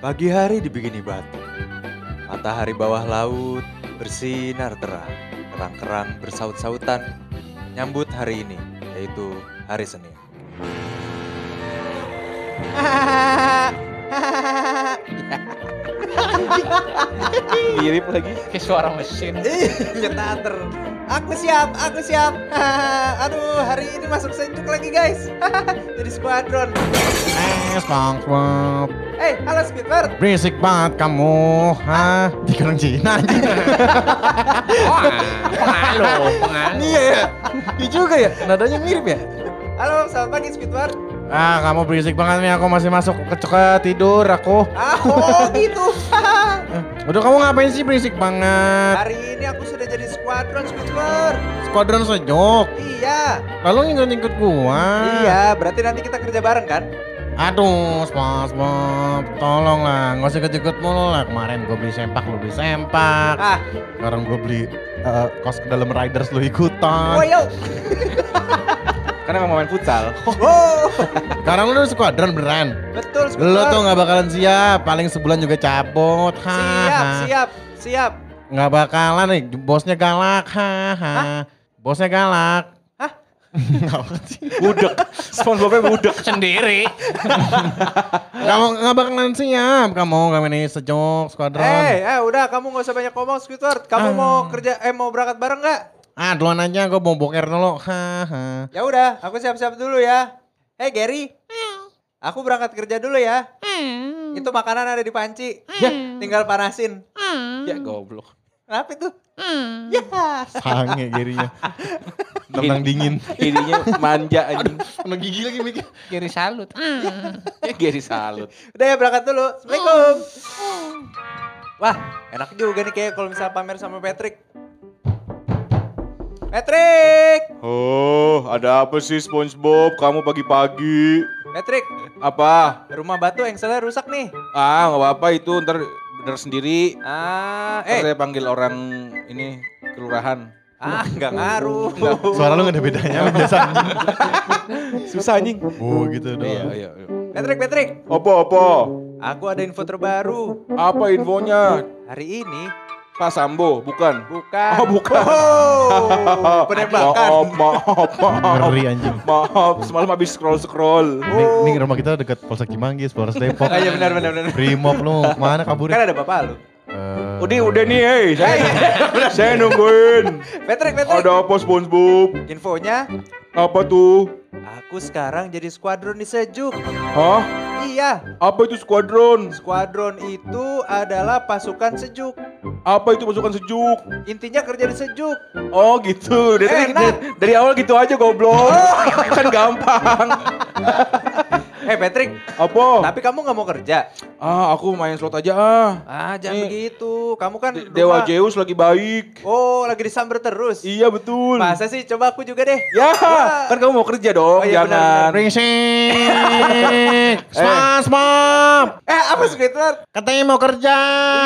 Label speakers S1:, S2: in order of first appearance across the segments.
S1: Pagi hari dibikini batu. Matahari bawah laut bersinar terang. Kerang-kerang bersaut-sautan nyambut hari ini, yaitu hari Senin.
S2: Mirip lagi. Kayak suara mesin.
S1: Nyetater. Aku siap, aku siap. Aduh, hari ini masuk senjuk lagi guys. Jadi squadron.
S3: Eh, SpongeBob,
S1: Eh, halo Squidward.
S3: berisik banget kamu, hah? Di orang Cina anjing.
S2: Pengaruh, pengaruh.
S4: Iya ya, iya juga ya, nadanya mirip ya.
S1: Halo, selamat pagi Squidward.
S3: Ah, kamu berisik banget nih, aku masih masuk kecekat tidur aku.
S1: Ah, oh gitu.
S3: Eh, Udah kamu ngapain sih berisik banget?
S1: hari ini aku sudah jadi squadron Squidward.
S3: Squadron sejuk.
S1: Iya.
S3: Lalu ngikut-ngikut gua.
S1: Iya, berarti nanti kita kerja bareng kan?
S3: Aduh, SpongeBob, tolong lah, nggak usah ikut-ikut mulu lah. Kemarin gua beli sempak, lu beli sempak.
S1: Ah,
S3: Sekarang gua beli eh, kos ke dalam riders lu ikutan.
S1: woyo.
S4: Karena emang main futsal.
S5: Hmm.
S1: Wow,
S3: Sekarang lu squadron beneran.
S1: betul Squidward.
S3: Lo tuh nggak bakalan siap, paling sebulan juga cabut.
S1: siap,
S3: haha.
S1: siap, siap.
S3: Nggak bakalan nih, bosnya galak. Haha. Bosnya galak.
S1: Hah?
S3: Nggak sih.
S4: Budek, SpongeBobnya budek.
S2: Sendiri.
S3: kamu nggak bakalan siap, kamu kamu ini sejuk
S1: Eh,
S3: squadron.
S1: eh, udah kamu nggak usah banyak ngomong Squidward. Kamu mau kerja eh mau berangkat bareng nggak?
S3: Ah, duluan aja, gue mau boker dulu. Haha.
S1: Ya udah, aku siap-siap dulu ya. Eh, Gary. Aku berangkat kerja dulu ya. Itu makanan ada di panci. Ya, tinggal panasin.
S4: Ya goblok.
S1: Kenapa itu? Ya.
S3: Sange girinya. Tenang dingin.
S4: Ininya manja anjing.
S3: Kena gigi lagi mikir.
S2: Kiri salut.
S4: Ya Gary salut.
S1: Udah ya berangkat dulu. Assalamualaikum. Wah, enak juga nih kayak kalau misalnya pamer sama Patrick. Patrick!
S5: Oh, ada apa sih SpongeBob? Kamu pagi-pagi
S1: Patrick,
S5: apa?
S1: rumah batu engselnya rusak nih.
S5: Ah, nggak apa-apa itu ntar bener sendiri.
S1: Ah,
S5: Ntar
S1: eh.
S5: saya panggil orang ini kelurahan.
S1: Ah, nggak ngaruh.
S3: Suara lu nggak ada bedanya sama biasa.
S4: Susah anjing.
S3: Oh
S5: Iya,
S3: gitu doang.
S5: iya, iya.
S1: Patrick, Patrick.
S5: Apa, apa?
S1: Aku ada info terbaru.
S5: Apa infonya?
S1: Hari ini
S5: Pak Sambo, bukan?
S1: bukan.
S5: Oh, bukan.
S1: Oh, penembakan.
S5: Maaf, maaf, maaf.
S3: Ngeri anjing.
S5: Maaf, semalam habis scroll-scroll.
S1: Oh.
S3: Ini, ini rumah kita dekat Polsek Cimanggis, Polres Depok.
S1: Ah, iya benar benar benar.
S3: Brimob lu, mana
S1: Kan
S3: kaburin?
S1: ada bapak lu.
S3: Eh,
S5: Udah, udah nih, hei. Saya, saya nungguin.
S1: Patrick, Patrick.
S5: Ada apa SpongeBob?
S1: Infonya,
S5: Apa tuh?
S1: aku sekarang jadi squadron di Sejuk.
S5: Hah?
S1: Iya,
S5: Apa itu skuadron?
S1: Squadron itu adalah pasukan sejuk.
S5: Apa itu pasukan sejuk?
S1: Intinya kerja di sejuk.
S5: Oh gitu, dari,
S1: Enak. Oh.
S5: dari, dari awal gitu aja goblok. kan gampang.
S1: Eh Patrick,
S5: Apa?
S1: tapi kamu nggak mau kerja?
S5: Ah, aku main slot aja ah.
S1: Ah jangan
S5: Nih.
S1: begitu. Kamu kan
S5: De- Dewa
S1: rumah-
S5: Zeus lagi baik.
S1: Oh lagi disamber terus.
S5: Iya betul.
S1: Masa sih? Coba aku juga deh.
S5: Ya,
S1: Wah.
S5: kan kamu mau kerja dong,
S1: Oh, iya,
S5: jangan.
S3: Berisik. SpongeBob,
S1: Eh apa Squidward?
S3: katanya mau kerja.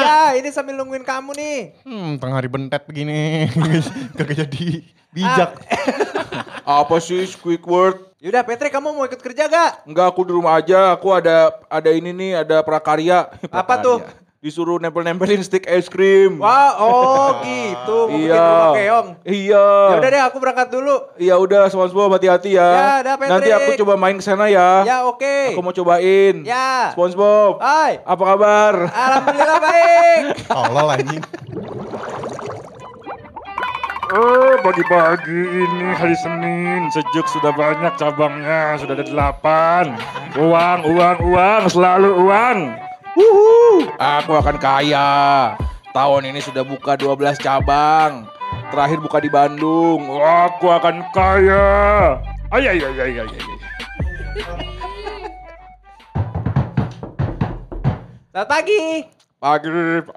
S1: Iya, ini sambil nungguin kamu nih.
S3: Hmm, tengah hari bentet begini. Kagak jadi bijak.
S5: Apa sih Squidward?
S1: Ah, eh, Yaudah Patrick, kamu mau ikut kerja gak?
S5: Enggak, aku di rumah aja. Aku ada ada ini nih, ada prakarya.
S1: Apa
S5: Prakarya.
S1: tuh?
S5: Disuruh nempel-nempelin stick es krim.
S1: Wah, oh gitu. Mau bikin
S5: iya.
S1: rumah keong.
S5: Iya.
S1: Yaudah deh, aku berangkat dulu.
S5: Ya udah, SpongeBob hati-hati ya.
S1: Ya, dah,
S5: Nanti aku
S1: Patrick.
S5: coba main ke sana ya.
S1: Ya oke.
S5: Aku mau cobain.
S1: Ya. Ah.
S5: SpongeBob.
S1: Hai.
S5: Apa kabar?
S1: Alhamdulillah baik.
S3: Tolol anjing.
S6: Oh, pagi-pagi ini hari Senin, sejuk sudah banyak cabangnya, sudah ada delapan. Uang, uang, uang, selalu uang.
S5: Aku akan kaya. Tahun ini sudah buka 12 cabang. Terakhir buka di Bandung.
S6: Aku akan kaya. Ay, ay, ay, ay, ay, ay.
S1: Selamat pagi.
S6: Pagi,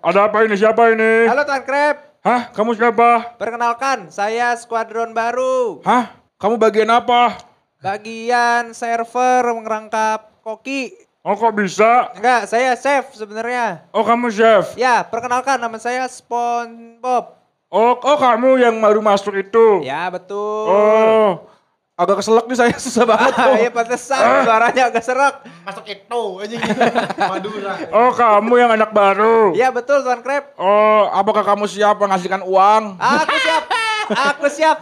S6: ada apa ini? Siapa ini?
S1: Halo Tuan Krep.
S6: Hah, kamu siapa?
S1: Perkenalkan, saya skuadron baru.
S5: Hah? Kamu bagian apa?
S1: Bagian server merangkap koki.
S6: Oh, kok bisa?
S1: Enggak, saya chef sebenarnya.
S6: Oh, kamu chef.
S1: Ya, perkenalkan nama saya SpongeBob.
S6: Oh, oh kamu yang baru masuk itu.
S1: Ya, betul.
S6: Oh,
S5: Agak keselak nih saya susah banget.
S1: Ah, iya pantesan Ya, suaranya agak serak.
S3: masuk itu anjing. Madura.
S6: Oh kamu yang anak baru.
S1: Ya,
S5: Iya betul Tuan Krep.
S6: Oh
S5: Apakah kamu siap menghasilkan uang?
S1: Aku siap. Aku siap.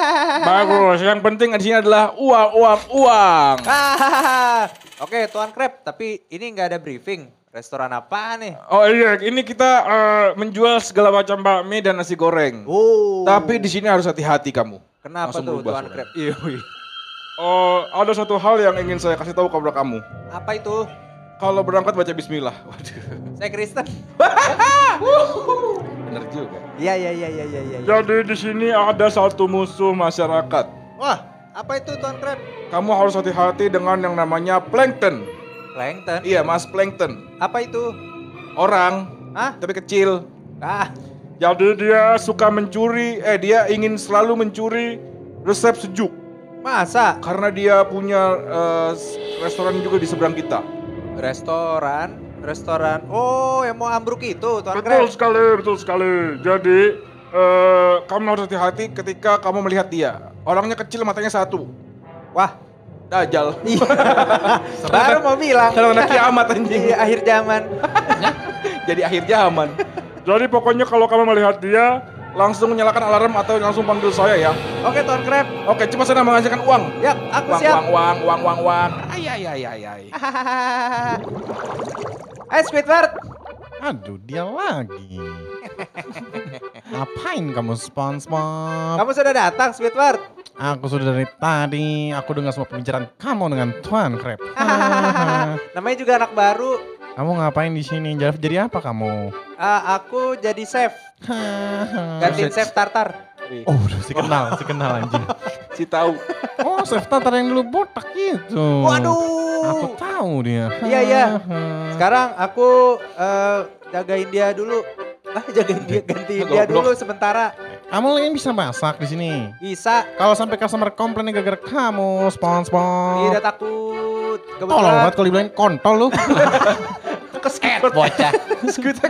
S6: bagus.
S5: Yang penting di sini adalah uang, uang, uang.
S6: Ah.
S1: Oke, Tuan Krep, tapi ini nggak ada briefing. Restoran apa nih?
S6: Oh iya ini kita eh, menjual segala macam bakmi dan nasi goreng.
S1: Oh.
S5: Tapi di sini harus hati-hati kamu.
S1: kenapa
S5: Langsung
S1: tuh
S5: berubah
S1: Tuan Iya,
S5: suara.
S1: Krep?
S6: Oh ada satu hal yang ingin saya kasih tahu kepada kamu.
S1: Apa itu?
S6: Kalau berangkat baca Bismillah. Waduh.
S1: Saya Kristen.
S5: Bener juga.
S1: Iya, iya, iya, iya, iya. Ya.
S6: Jadi di sini ada satu musuh masyarakat.
S1: Wah, apa itu Tuan Krep?
S6: Kamu harus hati-hati dengan yang namanya plankton.
S1: Plankton.
S6: Iya, Mas Plankton.
S1: Apa itu?
S6: Orang,
S1: Hah?
S6: tapi kecil.
S1: Ah,
S6: Jadi dia suka mencuri, eh dia ingin selalu mencuri resep sejuk.
S1: masa?
S6: Karena dia punya eh, s- restoran juga di seberang kita.
S1: Restoran, restoran. Oh, yang mau ambruk itu Tuan
S6: Betul
S1: Krep.
S6: sekali, betul sekali. Jadi, eh, kamu harus hati-hati ketika kamu melihat dia. Orangnya kecil, matanya satu.
S1: Wah,
S6: Dajjal.
S1: Iya. Baru mau bilang.
S6: Kalau anak kiamat anjing.
S1: Iya, akhir zaman.
S6: Jadi akhir zaman. Jadi pokoknya kalau kamu melihat dia, langsung nyalakan alarm atau langsung panggil saya ya.
S1: Oke, Tuan Krep.
S6: Oke, cuma saya menghasilkan uang.
S1: Yap, Ya, aku
S5: Uang,
S1: siap.
S5: uang, uang, uang, uang, uang. Ay, ay, ay, ay, ay.
S1: Hai Squidward.
S3: Aduh, dia lagi. Ngapain kamu SpongeBob?
S1: Kamu sudah datang Squidward.
S3: Aku sudah dari tadi, aku dengar semua pembicaraan kamu dengan Tuan Krep.
S1: Namanya juga anak baru.
S3: kamu ngapain di sini? Jadi, jadi apa kamu?
S1: Ah, aku jadi chef. Gantiin chef Tartar.
S3: oh, udah si kenal, si kenal anjing.
S5: Si tahu.
S3: Oh, chef Tatar yang dulu botak gitu. Aku
S1: Waduh.
S3: tahu dia.
S1: Oh. Iya, iya. Sekarang aku eh, jagain dia dulu. Ah, jagain dia, gantiin dia dulu sementara.
S3: Kamu yang bisa masak di sini.
S1: Bisa.
S3: Kalau sampai customer komplain gara-gara kamu, SpongeBob.
S1: Tidak takut.
S3: Oh. Tolong banget
S1: Kebetulan
S3: kalau dibilangin kontol lu.
S1: keset. Bocah.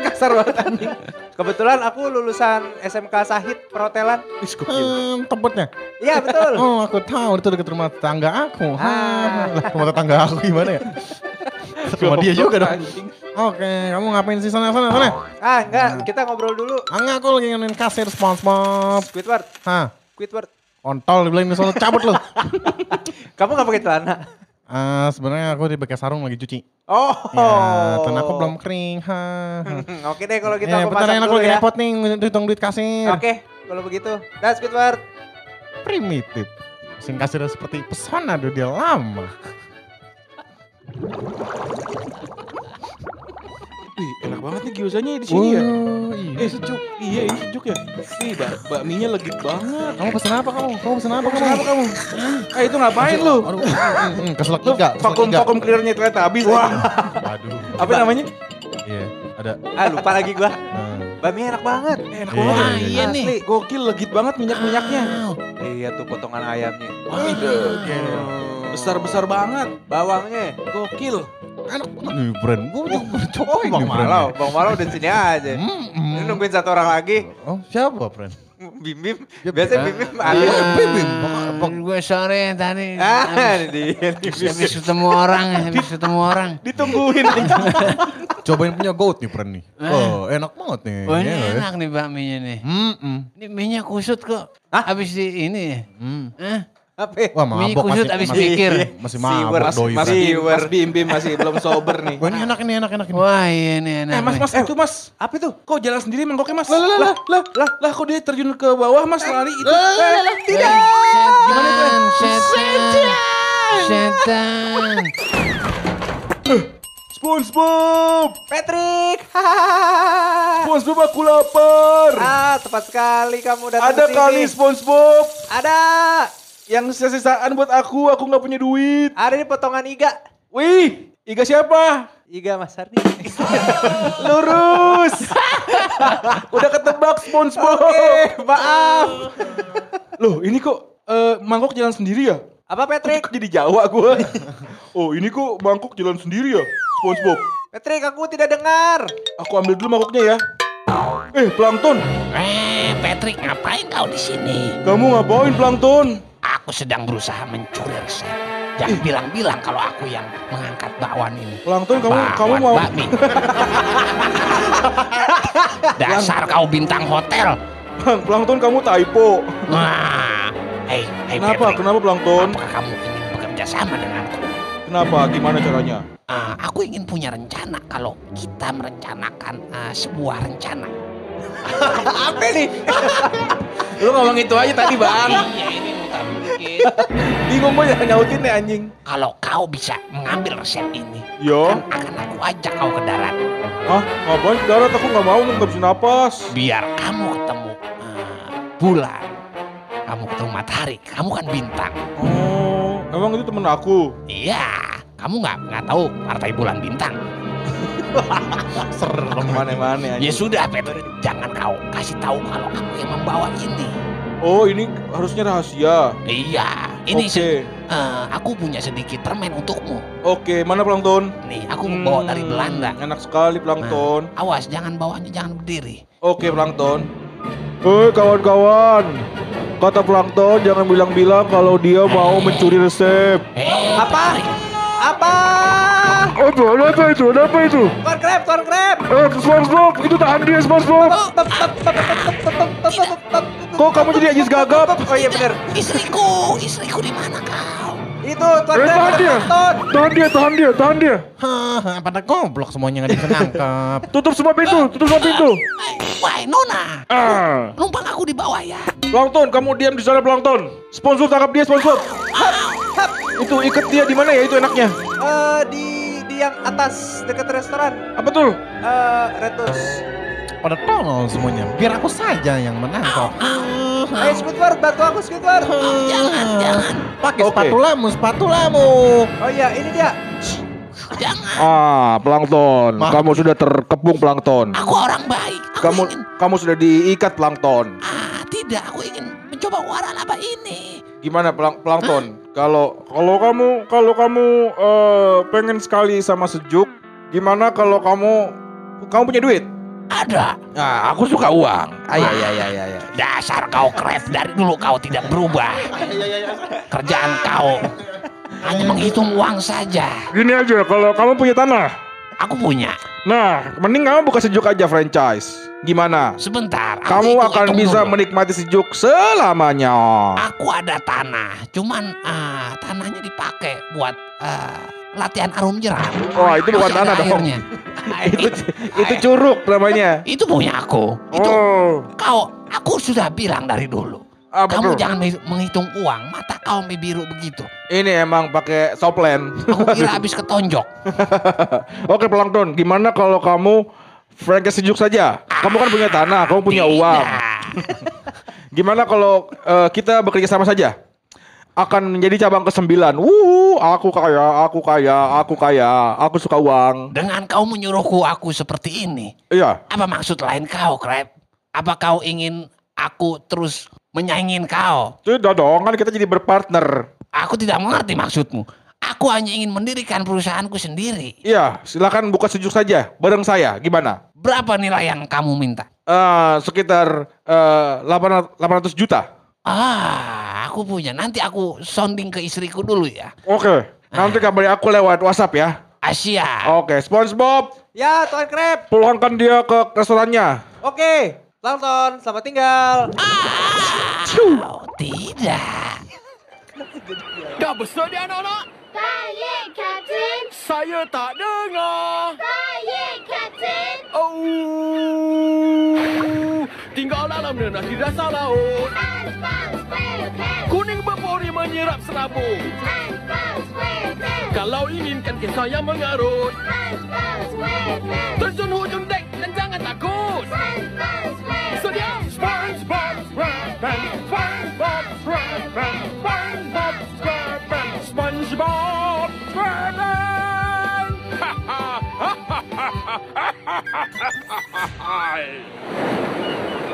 S1: kasar banget anjing. Kebetulan aku lulusan SMK Sahid Perhotelan.
S5: gitu?
S3: Hmm, tebetnya.
S1: Iya, betul.
S3: Oh, aku tahu itu dekat rumah tetangga aku.
S1: Ah.
S3: Hah, rumah tetangga aku gimana ya? Rumah dia juga dong. Oke, kamu ngapain sih sana sana sana?
S1: Ah, enggak, kita ngobrol dulu.
S3: Ah, enggak, aku lagi ngomongin kasir SpongeBob.
S1: Squidward,
S3: Hah,
S1: Squidward.
S3: kontol dibilangin sono cabut lu.
S1: Kamu nggak pakai celana?
S3: Ah, sebenarnya aku dipakai sarung lagi cuci.
S1: Oh.
S3: Ya, tanah aku belum kering. Ha. ha.
S1: Hmm, Oke deh kalau gitu
S3: Eh,
S1: aku
S3: bentar
S1: pasang
S3: ya, aku
S1: dulu
S3: lagi
S1: ya.
S3: repot nih ngitung duit kasir.
S1: Oke, kalau begitu. Dah Squidward.
S3: Primitif. Mesin kasir seperti pesona aduh dia lama.
S5: Wih, enak banget nih gyozanya di sini
S3: Wow,
S5: ya.
S3: iya.
S5: Eh, sejuk. Iya, ini sejuk ya. Ih, bak bakminya legit banget.
S3: Kamu pesen apa kamu? Kamu pesen apa kamu? Kenapa kamu?
S5: Eh, itu ngapain lu?
S3: Aduh, mm, mm, keselak juga. keselak
S5: Vakum
S3: juga.
S5: vakum clearnya ternyata habis. Wah,
S3: Waduh.
S5: apa namanya?
S3: Iya, ada.
S1: Ah, lupa lagi gua.
S3: Nah.
S1: Bami enak banget.
S5: Enak
S3: Iya,
S5: banget.
S1: iya.
S3: iya,
S1: Asli.
S5: Gokil, legit banget minyak-minyaknya.
S1: Iya tuh potongan ayamnya.
S3: iya,
S5: Besar-besar banget.
S1: Bawangnya.
S5: Gokil.
S3: Enak banget nih brand. Gue udah udah cobain
S1: Bang
S3: nih
S1: Malau, Bang Malau udah sini aja.
S3: Oh, Hmm,
S1: Ini
S3: hmm.
S1: nungguin satu orang lagi.
S3: Oh, siapa brand?
S1: Bim Bim. Biasanya Bim Bim ada.
S3: Iya, Bibim.
S7: Pok gue sore tadi
S1: Ah, ini dia. nih, Bim.
S7: habis ketemu orang, habis ketemu orang.
S5: Ditungguin.
S3: Cobain punya goat nih brand nih. Oh, enak banget nih.
S7: Wah ini
S3: Iya, ya.
S7: Eh. enak nih bakminya nih.
S3: Hmm, hmm.
S7: Ini minyak kusut kok.
S1: Hah?
S7: Habis di ini.
S3: hmm.
S7: Hah?
S1: Apa? ya?
S3: Wah,
S7: Minyak
S3: mabok
S7: kusut
S3: masih
S7: habis
S3: masih,
S7: pikir.
S3: masih
S1: Siwer,
S3: mabok doi.
S5: Mas,
S3: brand.
S5: Bim, Mas Bim, Bim masih belum sober nih.
S3: Wah, ini enak ini enak enak ini.
S7: Wah iya nih enak.
S5: Eh mas,
S7: nih.
S5: mas, itu mas.
S1: Apa itu?
S5: Kok jalan sendiri mangkoknya mas? Lah, lah, lah, lah, lah, lah, kok dia terjun ke bawah mas lari itu? Eh,
S7: Tidak. Setan, setan, setan.
S5: Eh. SpongeBob,
S1: Patrick. Hahaha.
S5: SpongeBob aku lapar.
S1: ah, tepat sekali kamu datang
S5: Ada
S1: ke sini.
S5: kali SpongeBob
S1: Ada.
S5: yang sisa-sisaan buat aku, aku nggak punya duit.
S1: Ada di potongan iga.
S5: Wih, Iga siapa?
S1: Iga Mas Hardi.
S5: Lurus. Udah ketebak SpongeBob.
S1: Eh, maaf.
S5: Loh, ini kok eh, mangkok jalan sendiri ya?
S1: Apa Patrick?
S5: Kok Jadi Jawa gua. oh, ini kok mangkok jalan sendiri ya? SpongeBob.
S1: Patrick, aku tidak dengar.
S5: Aku ambil dulu mangkoknya ya. Eh, plankton.
S7: Eh Patrick ngapain kau di sini?
S5: Kamu ngapain plankton?
S7: Aku sedang berusaha mencuri resep. Jangan bilang-bilang kalau aku yang mengangkat bakwan ini.
S5: Langtun kamu
S7: Bakwan
S5: kamu mau
S7: bakmi. Dasar kau bintang hotel.
S5: Langtun kamu typo.
S7: Wah. Hey, hey
S5: Kenapa?
S7: Eh, Patrick,
S5: Kenapa Langtun?
S7: apakah kamu ingin bekerja sama denganku?
S5: Kenapa? Gimana caranya?
S7: Ah, aku ingin punya rencana kalau kita merencanakan ah, sebuah rencana.
S1: Apa nih?
S4: Lu ngomong itu aja tadi bang.
S7: Iya ini bukan bikin.
S4: Bingung gue nyautin nih anjing.
S7: Kalau kau bisa mengambil resep ini,
S5: Yo,
S7: kan akan aku ajak kau ke darat.
S5: Iya. hah? Ngapain ke darat? Aku nggak mau, nggak bisa napas.
S7: Biar kamu ketemu ah, bulan, kamu ketemu matahari, kamu kan bintang.
S5: Oh, emang itu temen aku.
S7: Iya, kamu nggak nggak tahu partai bulan bintang.
S5: Mana-mana
S7: Ya sudah, Patrick, jangan kau kasih tahu kalau aku yang membawa ini.
S5: Oh, ini harusnya rahasia.
S7: Iya, ini
S5: Oke.
S7: se- eh, aku punya sedikit permen untukmu.
S5: Oke, mana pelangton?
S7: Nih, aku bawa dari
S5: Hmm,
S7: Belanda. Nah.
S5: Enak sekali pelangton.
S7: Awas, jangan bawahnya jangan berdiri.
S5: Oke, pelangton. Hei kawan-kawan, kata pelangton jangan bilang-bilang kalau dia mau mencuri resep.
S7: Eh,
S1: Apa?
S7: Patrick,
S1: Apa?
S6: Aduh, ada apa itu? Ada apa itu?
S1: Tuan Crab, Tuan Crab.
S6: Eh, SpongeBob, itu tahan dia SpongeBob.
S1: Oh.
S5: Kok kamu jadi ajis gagap?
S1: Oh iya bener.
S7: istriku, istriku di mana kau?
S1: Itu Tuan
S6: Eh,
S1: Crab
S6: tahan
S1: ada
S6: dia.
S1: Plankton.
S6: Tahan dia, tahan dia, tahan dia.
S3: Hah, Ah, pada goblok semuanya nggak bisa nangkep.
S6: Tutup semua pintu, tutup semua pintu.
S7: Eh, Wah, Nona,
S6: Ah,
S7: numpang aku di bawah ya.
S5: Pelangton, kamu diam di sana pelangton. Sponsor tangkap dia, sponsor. Itu ikat dia di mana ya itu enaknya?
S1: Eh, di di yang atas dekat restoran.
S6: apa tuh?
S1: Eh, Retus.
S3: Pada tolong semuanya. Biar aku saja yang menangkap.
S1: Ayo Squidward, bantu aku Squidward.
S3: 嗯
S7: Jangan, jangan,
S3: Pakai
S5: Oke.
S3: spatulamu, spatulamu.
S1: Oh iya, ini dia.
S7: jangan.
S5: Ah, pelangton,
S3: Ma-
S5: kamu sudah terkepung pelangton.
S7: Aku orang baik. Aku
S5: Kamu
S7: ingin,
S5: kamu sudah diikat pelangton.
S7: ah, tidak, aku ingin mencoba waran apa ini.
S5: Gimana pelang, pelangton? Kalau
S6: Kalau kamu, kalau kamu eh, pengen sekali sama sejuk,
S5: gimana kalau kamu kamu punya duit?
S7: Ada. Ah,
S4: Nah, aku suka uang. Ayo,
S7: Wah.
S4: ayo, ayo, ayo, ayo.
S7: Dasar kau kres dari dulu kau tidak berubah. Kerjaan kau hanya menghitung uang saja.
S6: gini aja. Kalau kamu punya tanah,
S7: Aku punya.
S6: nah,
S5: Mending kamu buka sejuk aja franchise. Gimana?
S7: Sebentar. aku
S5: Kamu
S7: hitung-
S5: akan
S7: hitung
S5: bisa
S7: dulu.
S5: menikmati sejuk selamanya.
S7: Aku ada tanah, cuman ah, tanahnya dipakai buat ah, latihan arum jeram.
S5: Wah, Oh, itu bukan
S7: Masih ada
S5: tanah dong.
S7: airnya.
S5: Itu itu curug namanya.
S7: itu punya aku. Itu
S6: oh,
S7: kau, aku sudah bilang dari dulu.
S5: Apa
S7: Kamu
S5: tuh?
S7: jangan menghi- menghitung uang, mata kau mie biru begitu.
S5: Ini emang pakai soplen.
S7: Aku kira habis ketonjok.
S5: Oke, pelangton, gimana kalau kamu franchise sejuk saja? Kamu kan punya tanah, kamu punya uang.
S7: Tidak.
S5: Gimana kalau eh, kita bekerja sama saja? Akan menjadi cabang ke sembilan. Wuhu, aku kaya, aku kaya, aku kaya, aku suka uang.
S7: Dengan kau menyuruhku aku seperti ini,
S5: Iya.
S7: apa maksud lain kau, Krep? Apa kau ingin aku terus menyaingin kau?
S5: Tidak dong, kan kita jadi berpartner.
S7: Aku tidak mengerti maksudmu. Aku hanya ingin mendirikan perusahaanku sendiri.
S5: Iya, silakan buka sejuk saja bareng saya. Gimana?
S7: Berapa nilai yang kamu minta?
S5: Eh, sekitar eh, 800 800 juta.
S7: Ah, aku punya. Nanti aku sounding ke istriku dulu ya.
S5: Oke, nanti kabari aku lewat WhatsApp ya.
S7: Asia.
S5: Oke, SpongeBob,
S1: Ya, Tuan Crab.
S5: pulangkan dia ke restorannya.
S1: Oke. Plankton, selamat tinggal.
S7: Oh, tidak.
S8: Saya Captain. Saya tak dengar. Saya Captain. Oh. Tinggal dalam nenah tidak salah. Kuning berpori menyerap serabut. Kalau inginkan kisah yang mengarut. Terjun hujung dek dan jangan takut. Sedia.
S6: SpongeBob SquarePants, SpongeBob SquarePants, SpongeBob SquarePants, SpongeBob SquarePants. Hahaha.